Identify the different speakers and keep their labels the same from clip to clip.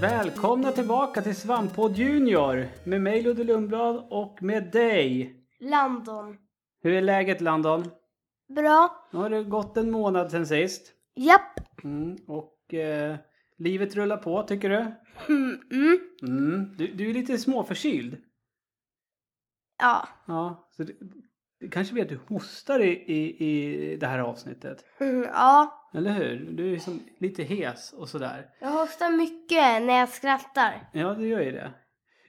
Speaker 1: Välkomna tillbaka till Svamppodd Junior med mig Ludde Lundblad och med dig.
Speaker 2: Landon.
Speaker 1: Hur är läget Landon?
Speaker 2: Bra.
Speaker 1: Nu har det gått en månad sen sist
Speaker 2: Japp.
Speaker 1: mm. och eh, livet rullar på tycker du?
Speaker 2: Mm, mm.
Speaker 1: Mm. Du, du är lite småförkyld.
Speaker 2: Ja.
Speaker 1: Ja, så det, det kanske blir att du hostar i, i, i det här avsnittet.
Speaker 2: Mm, ja.
Speaker 1: Eller hur? Du är som lite hes och sådär.
Speaker 2: Jag hostar mycket när jag skrattar.
Speaker 1: Ja, det gör ju det.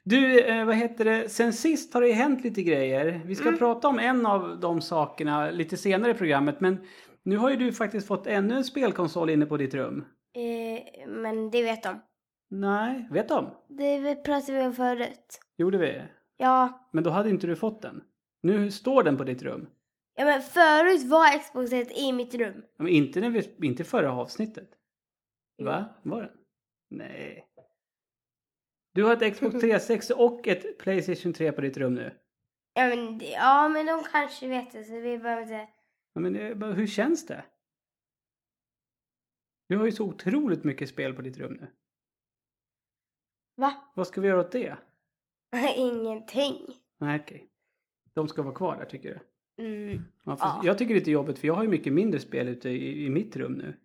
Speaker 1: Du, eh, vad heter det? Sen sist har det ju hänt lite grejer. Vi ska prata om en av de sakerna lite senare i programmet. Men nu har ju du faktiskt fått ännu en spelkonsol inne på ditt rum.
Speaker 2: Eh, men det vet de.
Speaker 1: Nej, vet de?
Speaker 2: Det vi- pratade vi om förut.
Speaker 1: Gjorde vi.
Speaker 2: Ja.
Speaker 1: Men då hade inte du fått den. Nu står den på ditt rum.
Speaker 2: Ja men förut var Xboxet i mitt rum.
Speaker 1: Men inte, när vi, inte förra avsnittet. Va? Var den? Nej. Du har ett Xbox 360 och ett Playstation 3 på ditt rum nu.
Speaker 2: Ja men, det- ja, men de kanske vet det så vi behöver inte...
Speaker 1: Ja, Men eh, bara, hur känns det? Du har ju så otroligt mycket spel på ditt rum nu.
Speaker 2: Va?
Speaker 1: Vad ska vi göra åt det?
Speaker 2: Ingenting.
Speaker 1: Nej, okej. De ska vara kvar där tycker du?
Speaker 2: Mm.
Speaker 1: Ja, fast
Speaker 2: Ja.
Speaker 1: Jag tycker det är lite jobbigt för jag har ju mycket mindre spel ute i, i mitt rum nu.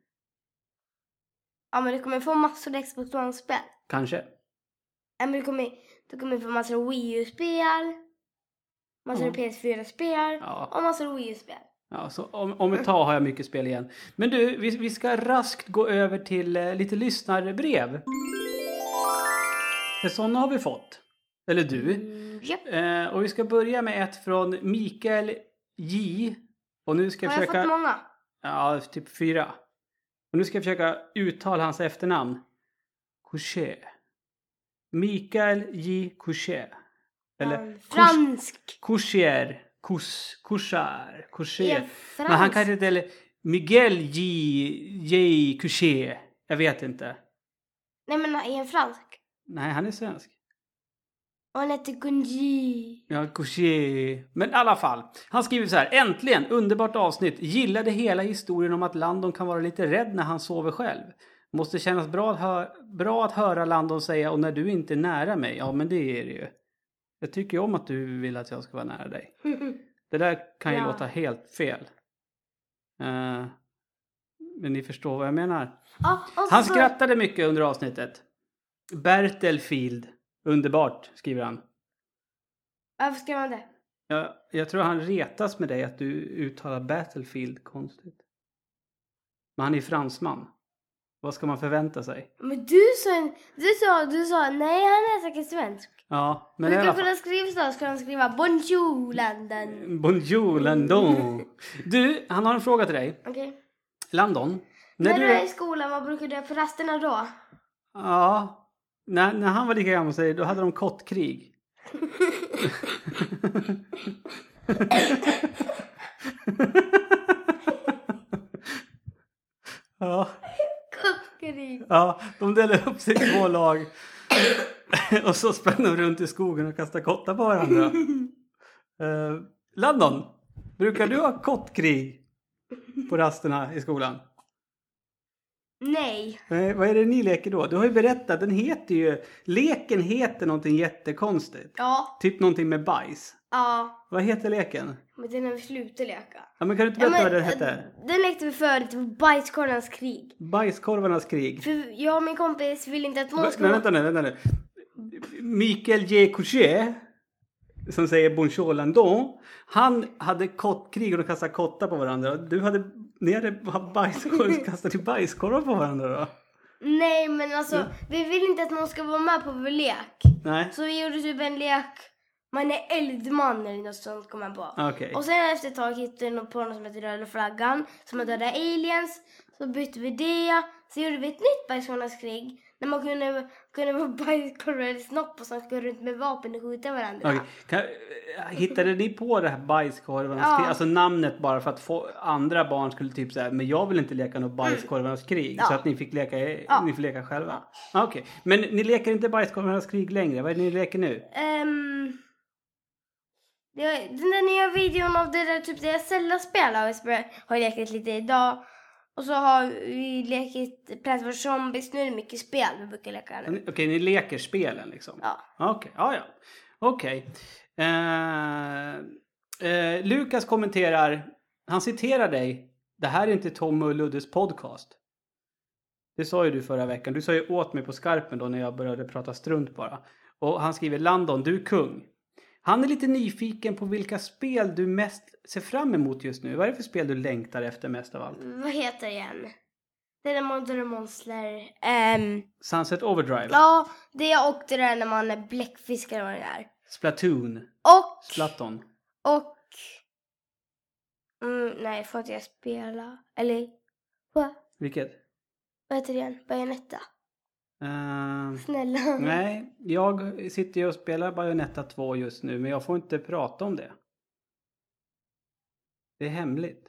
Speaker 2: Ja men du kommer få massor av Xbox One-spel.
Speaker 1: Kanske.
Speaker 2: Ja, men du kommer, du kommer få massor av Wii U-spel. Massor av
Speaker 1: Ja.
Speaker 2: PS4-spel.
Speaker 1: Ja.
Speaker 2: Och massor av Wii U-spel.
Speaker 1: Ja, så om, om ett tag har jag mycket spel igen. Men du, vi, vi ska raskt gå över till eh, lite lyssnarbrev. För sådana har vi fått. Eller du.
Speaker 2: Mm, Japp.
Speaker 1: Eh, och vi ska börja med ett från Mikael J. Och nu ska jag
Speaker 2: Har jag
Speaker 1: försöka...
Speaker 2: fått många?
Speaker 1: Ja, typ fyra. Och nu ska jag försöka uttala hans efternamn. Couché. Mikael J. Couché. Eller
Speaker 2: Fran- Ehm, fransk.
Speaker 1: Couchier. Couchar. Couchar.
Speaker 2: Ja,
Speaker 1: Couché.
Speaker 2: fransk.
Speaker 1: Men han kanske inte... Eller Miguel J. J. Couché. Jag vet inte.
Speaker 2: Nej men är han fransk?
Speaker 1: Nej, han är svensk.
Speaker 2: Och han heter Gunji.
Speaker 1: Ja, Couché. Men i alla fall. Han skriver så här. Äntligen! Underbart avsnitt. Gillade hela historien om att Landon kan vara lite rädd när han sover själv. Måste kännas bra att, hö- bra att höra Landon säga och när du inte är nära mig. Ja, men det är det ju. Jag tycker ju om att du vill att jag ska vara nära dig. Det där kan ju
Speaker 2: Ja.
Speaker 1: låta helt fel. Eh, men ni förstår vad jag menar.
Speaker 2: Ja, och så
Speaker 1: Han skrattade mycket under avsnittet. Bertelfield. Underbart, skriver han.
Speaker 2: Varför skrev han det?
Speaker 1: Jag, jag tror han retas med dig att du uttalar Battlefield konstigt. Men han är ju fransman. Vad ska man förvänta sig?
Speaker 2: Men du sa, en- du sa, du sa, nej han är säkert svensk.
Speaker 1: Ja, men
Speaker 2: Men
Speaker 1: i
Speaker 2: du
Speaker 1: alla
Speaker 2: kunde
Speaker 1: fall.
Speaker 2: skriva så, skulle han skriva Bonjour London.
Speaker 1: Bonjour Landon. Du, han har en fråga till dig.
Speaker 2: Okej.
Speaker 1: Landon.
Speaker 2: När,
Speaker 1: När
Speaker 2: du är i
Speaker 1: du...
Speaker 2: skolan, vad brukar du göra på rasterna då?
Speaker 1: Ja. När, när han var lika gammal som dig, då hade de kottkrig. ja.
Speaker 2: Kottkrig.
Speaker 1: Ja, de delade upp sig i två lag. och så sprang de runt i skogen och kastade kottar på varandra. Eh, Landon, brukar du ha kottkrig på rasterna i skolan?
Speaker 2: Nej.
Speaker 1: Nej, vad är det ni leker då? Du har ju berättat, den heter ju... Leken heter någonting jättekonstigt.
Speaker 2: Ja.
Speaker 1: Typ någonting med bajs.
Speaker 2: Ja.
Speaker 1: Vad heter leken?
Speaker 2: Men det är när vi slutar leka.
Speaker 1: Ja, men kan du inte
Speaker 2: Ja,
Speaker 1: berätta vad
Speaker 2: men,
Speaker 1: den
Speaker 2: eh,
Speaker 1: hette?
Speaker 2: Den lekte vi förut, det var bajskorvarnas krig.
Speaker 1: Bajskorvarnas krig.
Speaker 2: För jag och min kompis ville inte att någon
Speaker 1: Vä-
Speaker 2: skulle...
Speaker 1: Men vänta nu, vänta nu. Mikael J. Couché, som säger bonjour Landon, han hade kottkrig och de kastade kottar på varandra. Du hade, ni hade bajskorv, kastade ni bajskorvar på varandra då?
Speaker 2: Nej men alltså, vi ville inte att någon ska vara med på vår lek.
Speaker 1: Nej,
Speaker 2: Så vi gjorde typ en lek, man är eldman eller något sånt kom jag på.
Speaker 1: okej.
Speaker 2: Och sen efter ett tag hittade vi något på något som hette Röda flaggan, som hade döda aliens. Så bytte vi det, så gjorde vi ett nytt bajskorvarnas krig. När man kunde, kunde vara bajskorvar eller snopp och sen gå runt med vapen och skjuta varandra.
Speaker 1: Okej. Kan, eh, hittade ni på det här bajskorvarnas
Speaker 2: Ja.
Speaker 1: krig, alltså namnet bara för att få, andra barn skulle typ säga men jag vill inte leka något bajskorvarnas krig
Speaker 2: Mm. Ja.
Speaker 1: så att ni fick leka,
Speaker 2: Ja.
Speaker 1: ni får leka själva. Okej, men ni leker inte bajskorvarnas krig längre, vad är det ni leker nu?
Speaker 2: Ehm, det, den där nya videon av det där typ det Zelda spelar har jag spe- har jag lekt lite idag. Och så har vi lekit Plants vs Zombies. Nu är det mycket spel vi brukar leka nu.
Speaker 1: Okej, ni leker spelen liksom?
Speaker 2: Ja.
Speaker 1: Okej, ja ja. Okej. Eh, eh, Lukas kommenterar, han citerar dig. Det här är inte Tom och Luddes podcast. Det sa ju du förra veckan. Du sa ju åt mig på skarpen då när jag började prata strunt bara. Och han skriver Landon, du är kung. Han är lite nyfiken på vilka spel du mest ser fram emot just nu. Vad är det för spel du längtar efter mest av allt?
Speaker 2: Vad heter det igen? Det är när man drar monster. Ehm,
Speaker 1: Sunset Overdrive?
Speaker 2: ja, det och det där när man är bläckfisk eller vad det är.
Speaker 1: Splatoon?
Speaker 2: Och,
Speaker 1: Splaton?
Speaker 2: och... Mm, nej, får inte jag spela? Eller, vad,
Speaker 1: Vilket?
Speaker 2: vad heter det igen? Bajonetta?
Speaker 1: Ehm,
Speaker 2: Snälla.
Speaker 1: Nej, jag sitter ju och spelar Bayonetta 2 just nu men jag får inte prata om det. Det är hemligt.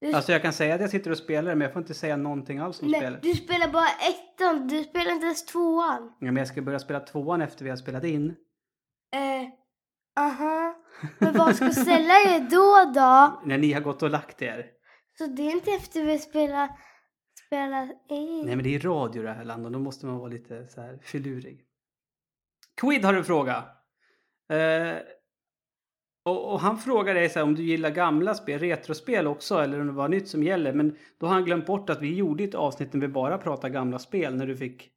Speaker 2: Du,
Speaker 1: Alltså jag kan säga att jag sitter och spelar det men jag får inte säga någonting alls om
Speaker 2: nej,
Speaker 1: spelet.
Speaker 2: du spelar bara ettan, du spelar inte ens tvåan.
Speaker 1: Ja, men jag ska börja spela tvåan efter vi har spelat in.
Speaker 2: Eh, aha. Men vad ska sälja er då då?
Speaker 1: När ni har gått och lagt er.
Speaker 2: Så det är inte efter vi spelar, spelar in.
Speaker 1: Nej men det är radio det här Landon, då måste man vara lite så här filurig. Quid har en fråga. Eh, och, och han frågar dig så här, om du gillar gamla spel, retrospel också eller om det var nytt som gäller. Men då har han glömt bort att vi gjorde ett avsnitt när vi bara pratade gamla spel när du fick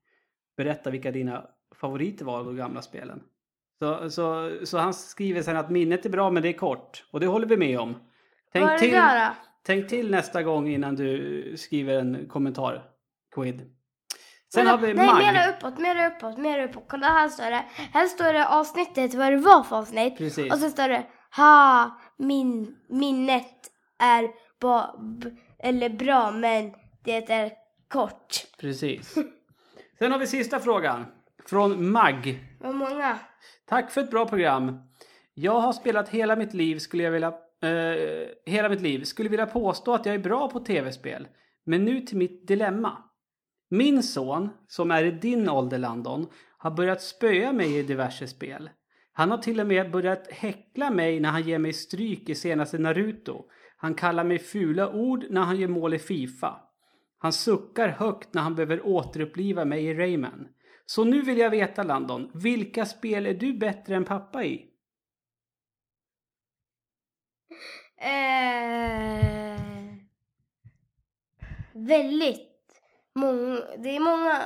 Speaker 1: berätta vilka dina favoriter var av de gamla spelen. Så, så, så han skriver sen att minnet är bra men det är kort och det håller vi med om. Tänk
Speaker 2: Vad är det
Speaker 1: till,
Speaker 2: där då?
Speaker 1: Tänk till nästa gång innan du skriver en kommentar. Quid. Sen
Speaker 2: Men-
Speaker 1: har vi
Speaker 2: Nej,
Speaker 1: Mag.
Speaker 2: mera uppåt, mera uppåt, mera uppåt. Kolla här står det. Här står det avsnittet, vad det var för avsnitt.
Speaker 1: Precis.
Speaker 2: Och sen står det, ha, min, minnet är ba, b, eller bra men det är kort.
Speaker 1: Precis. Sen har vi sista frågan. Från Mag.
Speaker 2: Vad många?
Speaker 1: Tack för ett bra program. Jag har spelat hela mitt liv skulle jag vilja... eh, hela mitt liv skulle vilja påstå att jag är bra på tv-spel. Men nu till mitt dilemma. Min son, som är i din ålder Landon, har börjat spöa mig i diverse spel. Han har till och med börjat häckla mig när han ger mig stryk i senaste Naruto. Han kallar mig fula ord när han gör mål i Fifa. Han suckar högt när han behöver återuppliva mig i Rayman. Så nu vill jag veta Landon, vilka spel är du bättre än pappa i?
Speaker 2: Eh, väldigt många. Det är många.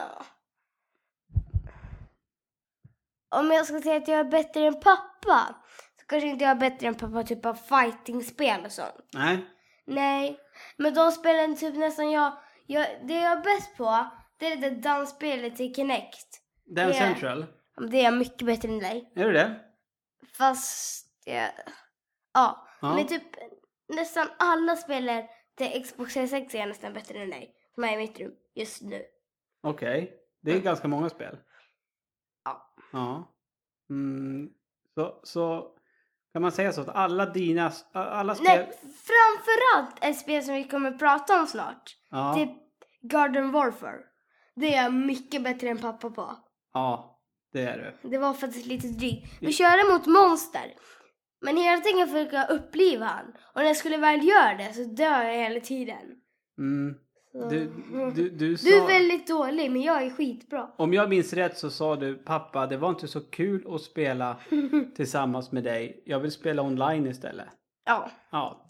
Speaker 2: Om jag ska säga att jag är bättre än pappa så kanske inte jag är bättre än pappa typ av fightingspel och sånt.
Speaker 1: Nej.
Speaker 2: Nej, men de spelen typ nästan jag, jag det jag är bäst på det är det där dansspelet i Kinect.
Speaker 1: Dance
Speaker 2: Det-
Speaker 1: Central?
Speaker 2: Det är jag mycket bättre än dig.
Speaker 1: Är det det?
Speaker 2: Fast... Ja. ja.
Speaker 1: Ja.
Speaker 2: Men typ nästan alla spelare till Xbox 360 är nästan bättre än dig. Som är i mitt rum just nu.
Speaker 1: Okej. Det är ganska många spel.
Speaker 2: Ja.
Speaker 1: Ja. Mm. Så, så kan man säga så att alla dina... Alla spel...
Speaker 2: Nej, framförallt ett spel som vi kommer prata om snart.
Speaker 1: Ja.
Speaker 2: Typ Garden Warfare. Det är jag mycket bättre än pappa på.
Speaker 1: ja, det är du.
Speaker 2: Det var faktiskt lite drygt. Vi körde mot monster. Men hela tiden försökte jag uppliva han. Och när jag skulle väl göra det så dör jag hela tiden.
Speaker 1: Mm.
Speaker 2: Så...
Speaker 1: Du, du, du, sa...
Speaker 2: du är väldigt dålig men jag är skitbra.
Speaker 1: Om jag minns rätt så sa du pappa, det var inte så kul att spela tillsammans med dig. Jag vill spela online istället.
Speaker 2: Ja.
Speaker 1: Ja,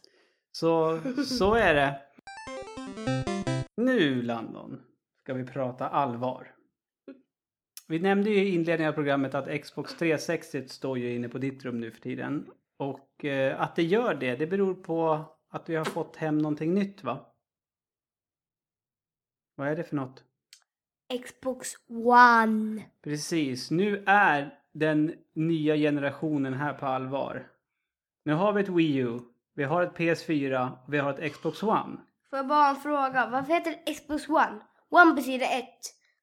Speaker 1: så, så är det. Nu Landon ska vi prata allvar. Vi nämnde ju i inledningen av programmet att Xbox 360 står ju inne på ditt rum nu för tiden. Och eh, att det gör det, det beror på att vi har fått hem någonting nytt va? Vad är det för något?
Speaker 2: Xbox One.
Speaker 1: Precis, nu är den nya generationen här på allvar. Nu har vi ett Wii U, vi har ett PS4 och vi har ett Xbox One.
Speaker 2: Får jag bara ha en fråga? Varför heter det Xbox One? One betyder ett.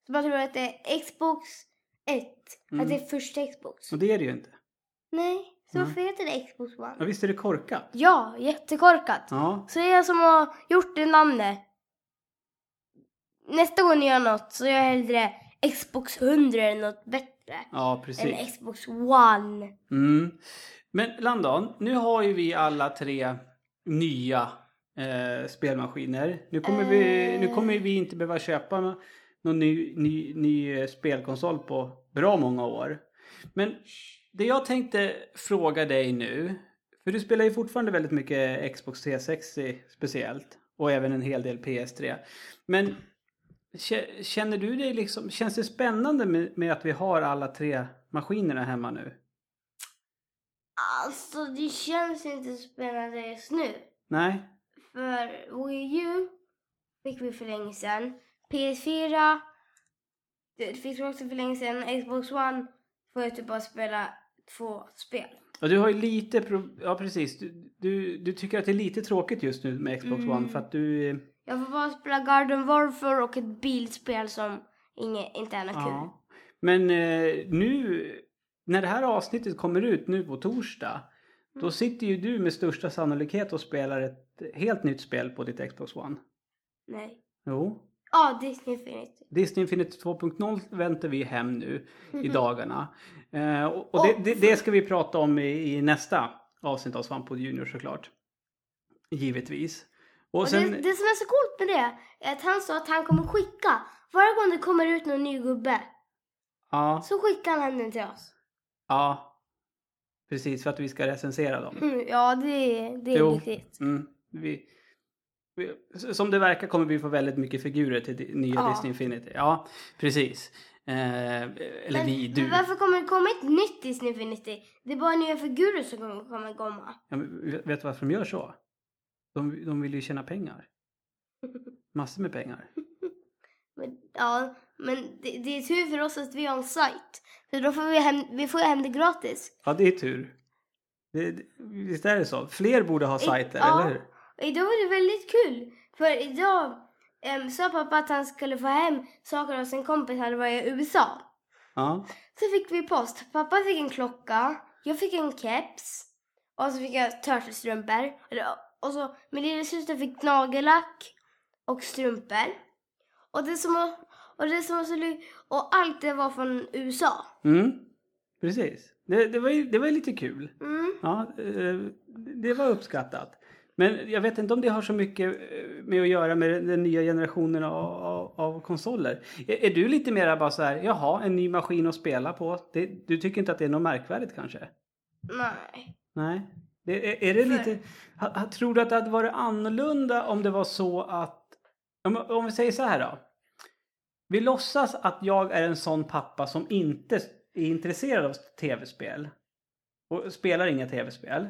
Speaker 2: Så man tror att det är Xbox 1. Att det är första Xbox.
Speaker 1: Och det är det ju inte.
Speaker 2: Nej, så varför heter det Xbox
Speaker 1: Ja,
Speaker 2: One?
Speaker 1: visst är det korkat?
Speaker 2: Ja, jättekorkat.
Speaker 1: Ja.
Speaker 2: Så det är jag som har gjort det namnet. Nästa gång jag gör något så gör jag hellre Xbox 100 eller något bättre.
Speaker 1: Ja,
Speaker 2: Än
Speaker 1: precis.
Speaker 2: Xbox One.
Speaker 1: Mm. Men Landon, nu har ju vi alla tre nya eh, spelmaskiner. Nu kommer, vi, nu kommer vi inte behöva köpa nå- någon ny, ny, ny eh, spelkonsol på bra många år. Men det jag tänkte fråga dig nu. För du spelar ju fortfarande väldigt mycket Xbox 360 speciellt. Och även en hel del PS3. Men kä- känner du dig liksom, känns det spännande med, med att vi har alla tre maskinerna hemma nu?
Speaker 2: Alltså det känns inte så spännande just nu.
Speaker 1: Nej?
Speaker 2: För Wii U fick vi för länge sedan. PS4 det fick vi också för länge sedan. Xbox One får jag typ bara spela två spel.
Speaker 1: Och du har ju lite, pro- ja precis, du, du, du tycker att det är lite tråkigt just nu med Xbox
Speaker 2: Mm.
Speaker 1: One för att du... eh,
Speaker 2: Jag får bara spela Garden Warfare och ett bilspel som inge, inte är något kul.
Speaker 1: Ja. Men eh, nu, när det här avsnittet kommer ut nu på torsdag,
Speaker 2: Mm.
Speaker 1: då sitter ju du med största sannolikhet och spelar ett helt nytt spel på ditt Xbox One.
Speaker 2: Nej.
Speaker 1: Jo.
Speaker 2: Ja, Disney Infinity.
Speaker 1: Disney Infinity 2.0 väntar vi hem nu i dagarna. Eh, och och
Speaker 2: Åh,
Speaker 1: det, det, det ska vi prata om i, i nästa avsnitt av Svampod Junior såklart. Givetvis. Och,
Speaker 2: Och
Speaker 1: sen,
Speaker 2: det, det som är så coolt med det är att han sa att han kommer skicka. Varje gång det kommer ut någon ny gubbe
Speaker 1: ja,
Speaker 2: så skickar han den till oss.
Speaker 1: ja. Precis, för att vi ska recensera dem.
Speaker 2: Mm, Ja, det, det är
Speaker 1: Jo.
Speaker 2: viktigt.
Speaker 1: Mm. Vi, vi, som det verkar kommer vi få väldigt mycket figurer till di- nya
Speaker 2: Ja.
Speaker 1: Disney Infinity. Ja, precis. Eh, eller
Speaker 2: Men-
Speaker 1: vi, du.
Speaker 2: Men varför kommer det komma ett nytt Disney Infinity? Det är bara nya figurer som kommer- kommer komma.
Speaker 1: Ja, men vet vet du varför de gör så? De, de vill ju tjäna pengar. Massor med pengar.
Speaker 2: Men, ja, men det, det är tur för oss att vi har en sajt. För då får vi hem, vi får hem det gratis.
Speaker 1: Ja, det är tur. Det, det- visst är det så? Fler borde ha sajter,
Speaker 2: Eh, ja.
Speaker 1: eller hur?
Speaker 2: Och idag var det väldigt kul. För idag um, sa pappa att han skulle få hem saker av sin kompis han var i USA.
Speaker 1: Ja.
Speaker 2: Så fick vi post. Pappa fick en klocka. Jag fick en keps. Och så fick jag turtlestrumpor. Eller- Och så min lillasyster fick nagellack och strumpor. Och det som var, och det som var så ly- Och allt det var från USA.
Speaker 1: Mm. Precis. Det, det, var ju, det var ju lite kul.
Speaker 2: Mm.
Speaker 1: Ja, eh, det var uppskattat. Men jag vet inte om det har så mycket eh, med att göra med den nya generationen av, av, av konsoler. Är, är du lite mera bara så här, jaha, en ny maskin att spela på? Det, du tycker inte att det är något märkvärdigt kanske?
Speaker 2: Nej.
Speaker 1: Nej. Det, är, är det lite, ha, ha- tror du att det hade varit annorlunda om det var så att, om, om vi säger så här då. Vi låtsas att jag är en sån pappa som inte är intresserad av tv-spel. Och spelar inga tv-spel.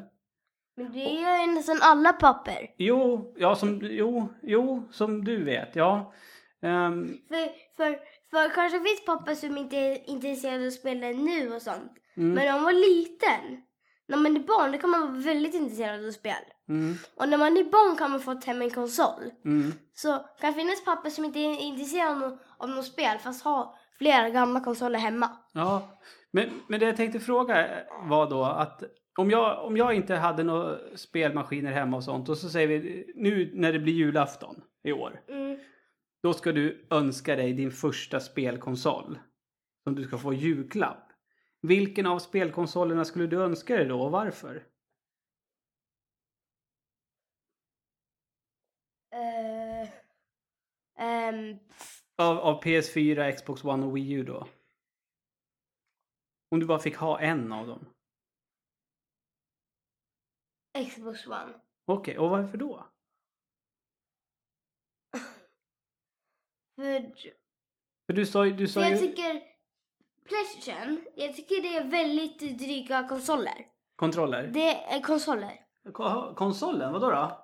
Speaker 2: Men det är ju nästan alla papper.
Speaker 1: Jo, ja, som, jo, jo, som du vet, ja. Ehm,
Speaker 2: För, för, för kanske finns papper som inte är intresserade av att spela nu och sånt.
Speaker 1: Mm.
Speaker 2: Men när man var liten. När man är barn då kan man vara väldigt intresserad av spel.
Speaker 1: mm,
Speaker 2: Och när man är barn kan man få hem en konsol.
Speaker 1: mm.
Speaker 2: Så kan det finnas papper som inte är intresserade av, nå- av något spel fast har flera gamla konsoler hemma.
Speaker 1: Ja, men, men det jag tänkte fråga var då att om jag, om jag inte hade några spelmaskiner hemma och sånt och så säger vi nu när det blir julafton i år.
Speaker 2: Mm.
Speaker 1: Då ska du önska dig din första spelkonsol. Som du ska få i julklapp. Vilken av spelkonsolerna skulle du önska dig då och varför?
Speaker 2: Eh, ehm,
Speaker 1: Av, av PS4, Xbox One och Wii U då? Om du bara fick ha en av dem.
Speaker 2: Xbox One.
Speaker 1: Okej, och varför då?
Speaker 2: För,
Speaker 1: För du sa, ju- du sa
Speaker 2: för jag
Speaker 1: ju
Speaker 2: tycker Playstation, jag tycker det är väldigt dryga konsoler.
Speaker 1: kontroller.
Speaker 2: Det är konsoler.
Speaker 1: Ko- Konsolen, vadå då?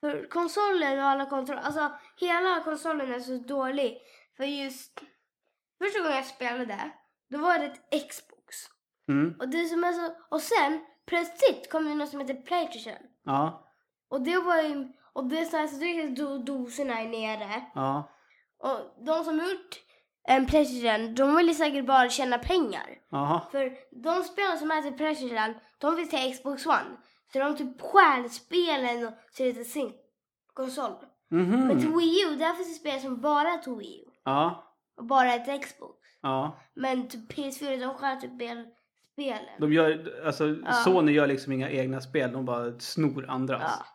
Speaker 2: För konsolen och alla kontroller, alltså hela konsolen är så dålig. För just första gången jag spelade, då var det ett Xbox.
Speaker 1: Mm,
Speaker 2: Och det som är så, och sen plötsligt kom det något som heter Playstation.
Speaker 1: ja,
Speaker 2: Och det var ju, och det är så här så riktigt do, doserna är nere.
Speaker 1: ja,
Speaker 2: Och de som gjort en Playstation, de vill ju säkert bara tjäna pengar.
Speaker 1: aha,
Speaker 2: För de spelen som är till Playstation, de finns till Xbox One. Så de typ stjäl spelen och ser det till sin konsol. Men till
Speaker 1: mhm,
Speaker 2: Wii U, där finns det spel som bara är till Wii U.
Speaker 1: ja,
Speaker 2: Och bara är till Xbox.
Speaker 1: ja.
Speaker 2: Men typ PS4, de stjäl typ spel- spelen.
Speaker 1: De gör, alltså Sony gör liksom inga egna spel, de bara snor andras.
Speaker 2: Ja.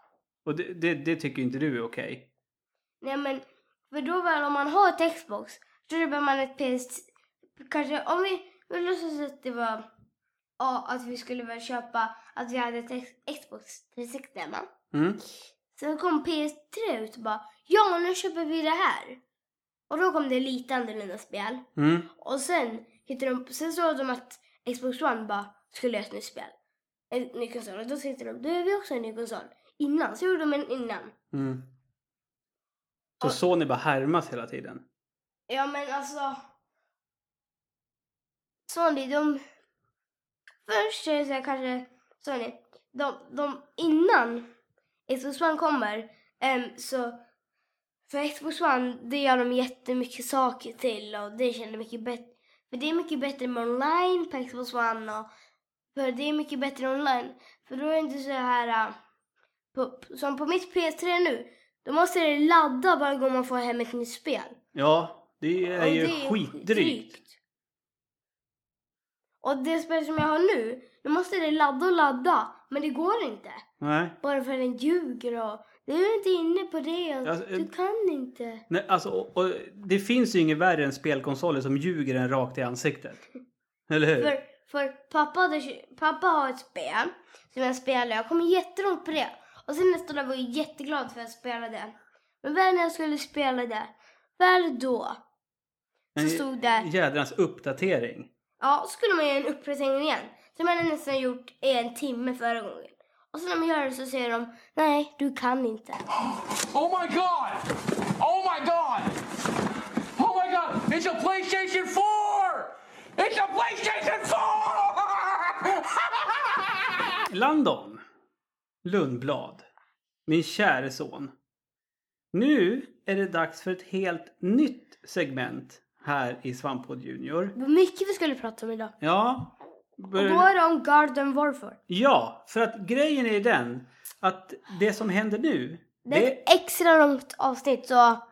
Speaker 1: Och det, det, det tycker inte du är okej.
Speaker 2: Nej men, för då väl om man har textbox, då behöver man ett PS... Kanske om vi, vi låtsas att det var... Ja, att vi skulle väl köpa, att vi hade ett ex- Xbox 360 hemma.
Speaker 1: Mm.
Speaker 2: Sen kom PS3 ut och bara ja nu köper vi det här. Och då kom det lite annorlunda spel.
Speaker 1: Mm.
Speaker 2: Och sen hittade de, sen såg de att Xbox One bara skulle göra ett nytt spel. En ny konsol. Och då tänkte de, då gör vi också en ny konsol. Innan, så gjorde de en innan.
Speaker 1: Mm. Så
Speaker 2: Och-
Speaker 1: Sony bara härmas hela tiden.
Speaker 2: Ja men alltså. Sony de. Först är det så här, kanske Sony. De, de innan Xbox One kommer em, så. För Xbox One det gör de jättemycket saker till och det känner mycket bättre. För det är mycket bättre med online på Xbox One och. För det är mycket bättre online. För då är det inte så här. äh, På, som på mitt PS3 nu. Då måste det ladda varje gång man får hem ett nytt spel.
Speaker 1: Ja, det är
Speaker 2: Och
Speaker 1: ju
Speaker 2: det är
Speaker 1: skitdrygt.
Speaker 2: Och det spel som jag har nu, då måste det ladda och ladda. Men det går inte.
Speaker 1: Nej.
Speaker 2: Bara för att den ljuger och... Du är inte inne på det och
Speaker 1: Alltså, eh,
Speaker 2: du kan inte.
Speaker 1: Nej, alltså, och, och, det finns ju inget värre än spelkonsoler som ljuger en rakt i ansiktet. Eller hur?
Speaker 2: För, för pappa, hade, kö- pappa har ett spel som jag spelar. Jag kommer jättelångt på det. Och sen nästa dag var jag jätteglad för att jag spelade. Men väl när jag skulle spela det, väl då så
Speaker 1: En
Speaker 2: stod det...
Speaker 1: Jädrans uppdatering.
Speaker 2: Ja, så skulle man göra en uppdatering igen. Som man hade nästan gjort i en timme förra gången. Och sen när man gör det så säger de, nej, du kan inte.
Speaker 3: Oh my god! Oh my god! Oh my god! It's a PlayStation 4! It's a PlayStation 4!
Speaker 1: Landon Lundblad, min käre son. Nu är det dags för ett helt nytt segment här i Svamppodd Junior.
Speaker 2: Vad mycket vi skulle prata om idag.
Speaker 1: Ja,
Speaker 2: Och
Speaker 1: bör-
Speaker 2: då är det om Garden Warfare.
Speaker 1: ja, för att grejen är den att det som händer nu,
Speaker 2: Det är
Speaker 1: det,
Speaker 2: ett extra långt avsnitt så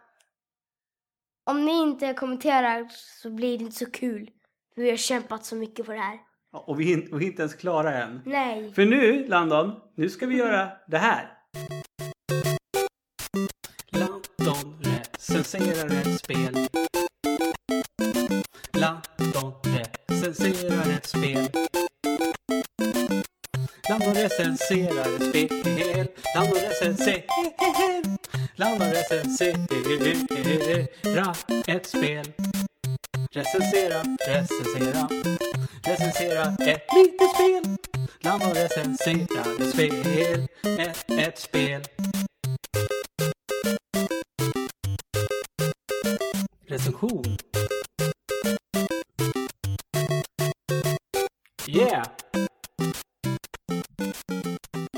Speaker 2: om ni inte kommenterar så blir det inte så kul. För vi har kämpat så mycket för det här.
Speaker 1: Ja, och vi är inte- och vi är inte ens klara än.
Speaker 2: Nej.
Speaker 1: För nu, Landon, nu ska vi göra det här. Landon recenserar ett spel. Landon recenserar ett spel. Landon recenserar ett spel. Landon recenserar. Landon recenserar ett spel. Recensera, recensera. Recensera ett litet spel. Landon recenserar ett spel. Ett, ett spel. Recension. Yeah!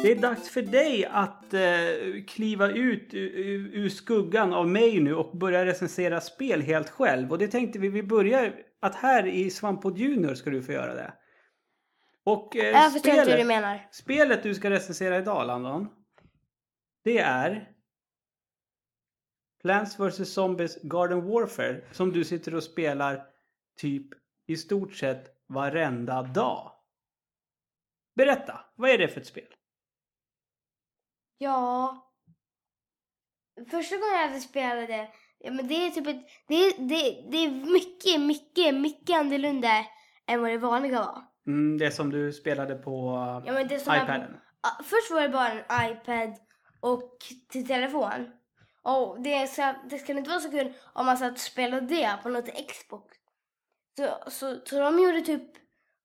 Speaker 1: Det är dags för dig att eh, kliva ut ur, ur- ur skuggan av mig nu och börja recensera spel helt själv. Och det tänkte vi, vi börjar att här i Svampod Junior ska du få göra det. Och eh,
Speaker 2: Jag förstår inte hur du
Speaker 1: spelet,
Speaker 2: menar.
Speaker 1: spelet du ska recensera idag, Landon, det är Plants vs. Zombies Garden Warfare som du sitter och spelar typ i stort sett varenda dag. Berätta, vad är det för ett spel?
Speaker 2: Ja. Första gången jag hade spelade, ja men det är typ ett, det är, det, det är mycket, mycket, mycket annorlunda än vad det vanliga var.
Speaker 1: Mm, det som du spelade på
Speaker 2: Ja, men det som är-
Speaker 1: iPaden.
Speaker 2: Ja, Först var det bara en iPad och till telefon. Och det, ska, det skulle inte vara så kul om man satt och spelade det på något Xbox. Så, så, så de gjorde typ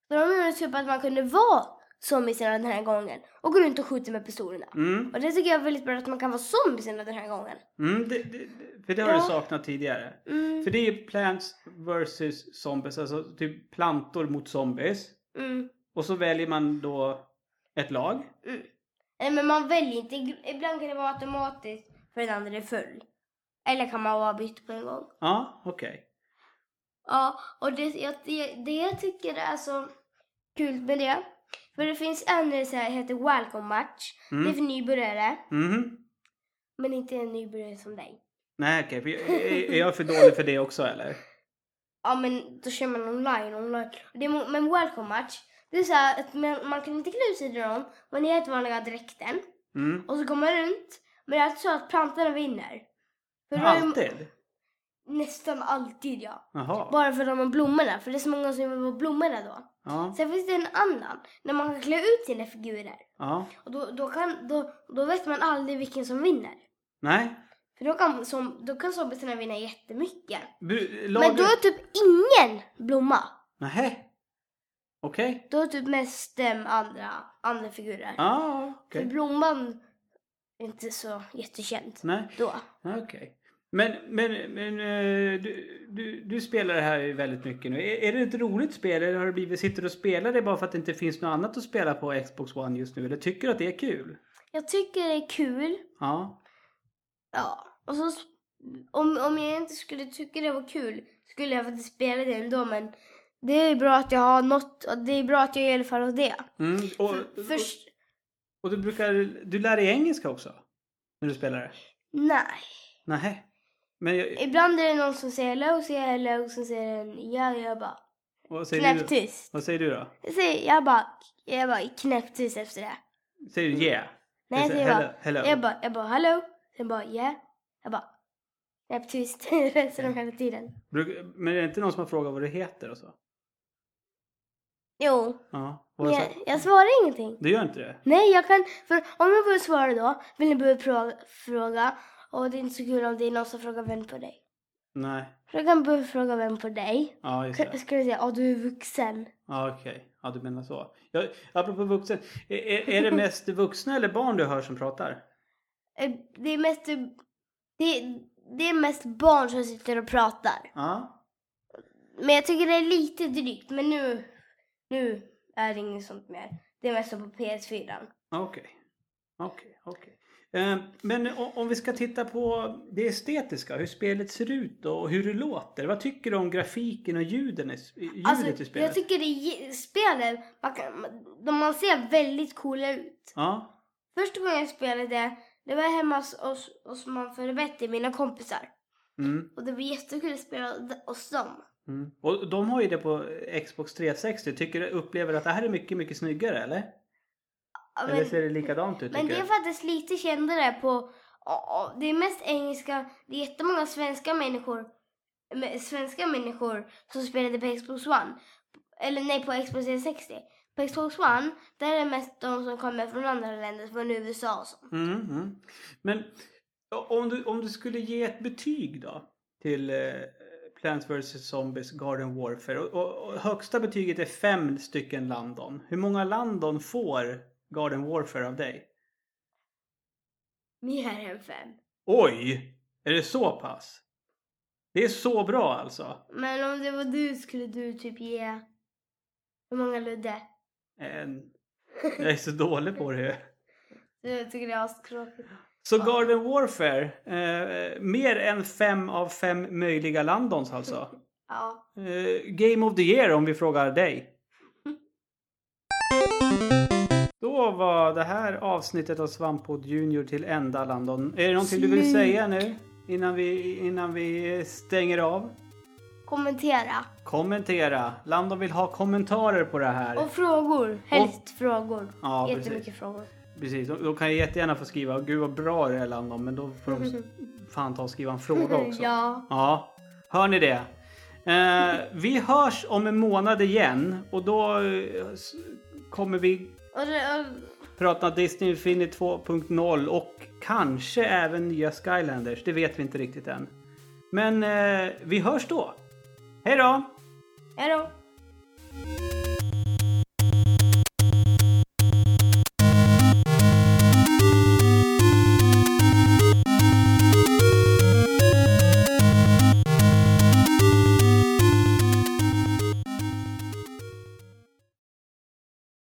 Speaker 2: så de gjorde typ att man kunde vara zombiesarna den här gången och gå runt och skjuta med pistolerna.
Speaker 1: Mm,
Speaker 2: Och det tycker jag är väldigt bra att man kan vara zombiesarna den här gången.
Speaker 1: mm, det, det, det- för det har
Speaker 2: Ja.
Speaker 1: du saknat tidigare.
Speaker 2: Mm,
Speaker 1: För det är ju Plants vs Zombies, alltså typ plantor mot zombies.
Speaker 2: mm,
Speaker 1: Och så väljer man då ett lag.
Speaker 2: mm. Nej men man väljer inte. Ibland kan det vara automatiskt för den andra är full. Eller kan man vara bytt på en gång.
Speaker 1: Ja, okej.
Speaker 2: Ja, och det jag, det, det jag tycker är så kul med det. För det finns en som heter Welcome Match. Det är
Speaker 1: Mm.
Speaker 2: för nybörjare,
Speaker 1: Mhm.
Speaker 2: men inte en nybörjare som dig.
Speaker 1: Nej, okej. för jag- Är, är jag för dålig för det också eller?
Speaker 2: Ja, men då kör man online. online. Och Det är, mo- men Welcome Match, det är så här att man, man kan inte klä ut sig till dem. Man är helt vanliga dräkten.
Speaker 1: Mm.
Speaker 2: Och så går man runt Men det är alltid så att plantorna vinner. För då är det
Speaker 1: Alltid?
Speaker 2: Nästan alltid ja.
Speaker 1: Jaha.
Speaker 2: Bara för de har blommorna, för det är så många som vill ha blommorna då.
Speaker 1: Ja.
Speaker 2: Sen finns det en annan, när man kan klä ut sina figurer.
Speaker 1: ja.
Speaker 2: Och då, då, kan, då, då vet man aldrig vilken som vinner.
Speaker 1: Nej.
Speaker 2: För då kan, som, då kan zombierna vinna jättemycket.
Speaker 1: Bu-
Speaker 2: Men då är typ ingen blomma.
Speaker 1: Nähä. Okej.
Speaker 2: Då är typ mest um, andra, andra figurer.
Speaker 1: Ja, ah, okej.
Speaker 2: För blomman är inte så jättekänd
Speaker 1: Nej.
Speaker 2: då.
Speaker 1: Okej. Men, men, men eh, du, du, du spelar det här ju väldigt mycket nu. Är, är det ett roligt spel eller har det blivit, sitter du och spelar det bara för att det inte finns något annat att spela på Xbox One just nu? Eller tycker du att det är kul?
Speaker 2: Jag tycker det är kul.
Speaker 1: Ja.
Speaker 2: Ja. Och så, s- om, om jag inte skulle tycka det var kul skulle jag faktiskt spela det ändå men det är bra att jag har något, det är bra att jag i alla fall har det.
Speaker 1: Mm. Och,
Speaker 2: För, först,
Speaker 1: och, och du brukar, du lär dig engelska också? När du spelar det?
Speaker 2: nej.
Speaker 1: Nähä. Men jag,
Speaker 2: Ibland är det någon som säger hello, säger jag hello, sen säger den ja, jag bara
Speaker 1: vad, säger du,
Speaker 2: knäpptyst.
Speaker 1: vad säger du då?
Speaker 2: Jag säger, jag bara, jag bara knäpptyst efter det.
Speaker 1: Säger du yeah?
Speaker 2: Mm. Nej, jag
Speaker 1: Eller
Speaker 2: säger
Speaker 1: hello,
Speaker 2: bara,
Speaker 1: hello.
Speaker 2: jag bara, jag bara hello, sen bara yeah, jag bara knäpptyst resten av hela tiden.
Speaker 1: Bruk, men är det inte någon som har frågat vad du heter och så?
Speaker 2: Jo,
Speaker 1: Ja. Vad
Speaker 2: men
Speaker 1: sa-
Speaker 2: jag, jag svarar ingenting.
Speaker 1: Du gör inte det?
Speaker 2: Nej, jag kan, för om jag börjar svara då vill ni börja fråga, fråga och det är inte så kul om det är någon som frågar vem på dig.
Speaker 1: Nej.
Speaker 2: För då kan jag börja fråga vem på dig.
Speaker 1: Ja, just det.
Speaker 2: Ska, ska du säga, ja du är vuxen.
Speaker 1: Ja, okej. Ja, du menar så. Ja, apropå vuxen. Är, är- är det mest vuxna eller barn du hör som pratar?
Speaker 2: Eh, Det är mest, det, det är mest barn som sitter och pratar.
Speaker 1: Ja.
Speaker 2: Men jag tycker det är lite drygt. Men nu, nu är det inget sånt mer. Det är mest på PS4.
Speaker 1: Okej. Okej, okej. Eh, Men o- om vi ska titta på det estetiska, hur spelet ser ut och hur det låter. Vad tycker du om grafiken och ljuden i, i- ljudet i
Speaker 2: Alltså,
Speaker 1: spelet?
Speaker 2: jag tycker det är, spelet, man, kan, de, man ser väldigt coola ut.
Speaker 1: Ja,
Speaker 2: Första gången jag spelade det, det var hemma hos, hos, hos man före Betty, mina kompisar.
Speaker 1: mm,
Speaker 2: Och det var jättekul att spela d- hos dem.
Speaker 1: mm. Och de har ju det på Xbox 360. Tycker du, upplever du att det här är mycket, mycket snyggare eller?
Speaker 2: Ja,
Speaker 1: eller
Speaker 2: men-
Speaker 1: ser det likadant ut
Speaker 2: Men det
Speaker 1: tycker
Speaker 2: är
Speaker 1: du?
Speaker 2: faktiskt lite kändare på... ja, ja, Det är mest engelska. Det är jättemånga svenska människor med- svenska människor som spelade på Xbox One. Eller nej, på Xbox 360. På Xbox One, där är det mest de som kommer från andra länder, från USA och så.
Speaker 1: Mm, mm. Men o- om du, om du skulle ge ett betyg då till eh, Plants vs Zombies Garden Warfare. Och, och, och högsta betyget är fem stycken Landon. Hur många Landon får Garden Warfare av dig?
Speaker 2: Mer än fem.
Speaker 1: Oj! Är det så pass? Det är så bra alltså.
Speaker 2: Men om det var du skulle du typ ge... Hur många Ludde?
Speaker 1: En. Jag är så dålig på det ju.
Speaker 2: Jag tycker det är astråkigt.
Speaker 1: Så Garden Warfare, eh, mer än fem av fem möjliga Landons alltså.
Speaker 2: Ja.
Speaker 1: Eh, Game of the year om vi frågar dig. Då var det här avsnittet av Svamppodd Junior till ända Landon. Är det någonting du vill
Speaker 2: Slut.
Speaker 1: säga nu? Innan vi, innan vi stänger av?
Speaker 2: Kommentera.
Speaker 1: Kommentera! Landon vill ha kommentarer på det här.
Speaker 2: Och frågor. Helst frågor.
Speaker 1: Eh. Ja, precis.
Speaker 2: Jättemycket frågor.
Speaker 1: Precis, då, då kan jag jättegärna få skriva Gud vad bra det är Landon, men då får de s- fan ta och skriva en fråga också.
Speaker 2: Ja.
Speaker 1: Ja, hör ni det? Eh, vi hörs om en månad igen och då eh, s- kommer vi
Speaker 2: Och det, och,
Speaker 1: prata Disney Infinity 2.0 och kanske även nya Skylanders. Det vet vi inte riktigt än. Men eh, vi hörs då. Hej då!
Speaker 2: hejdå!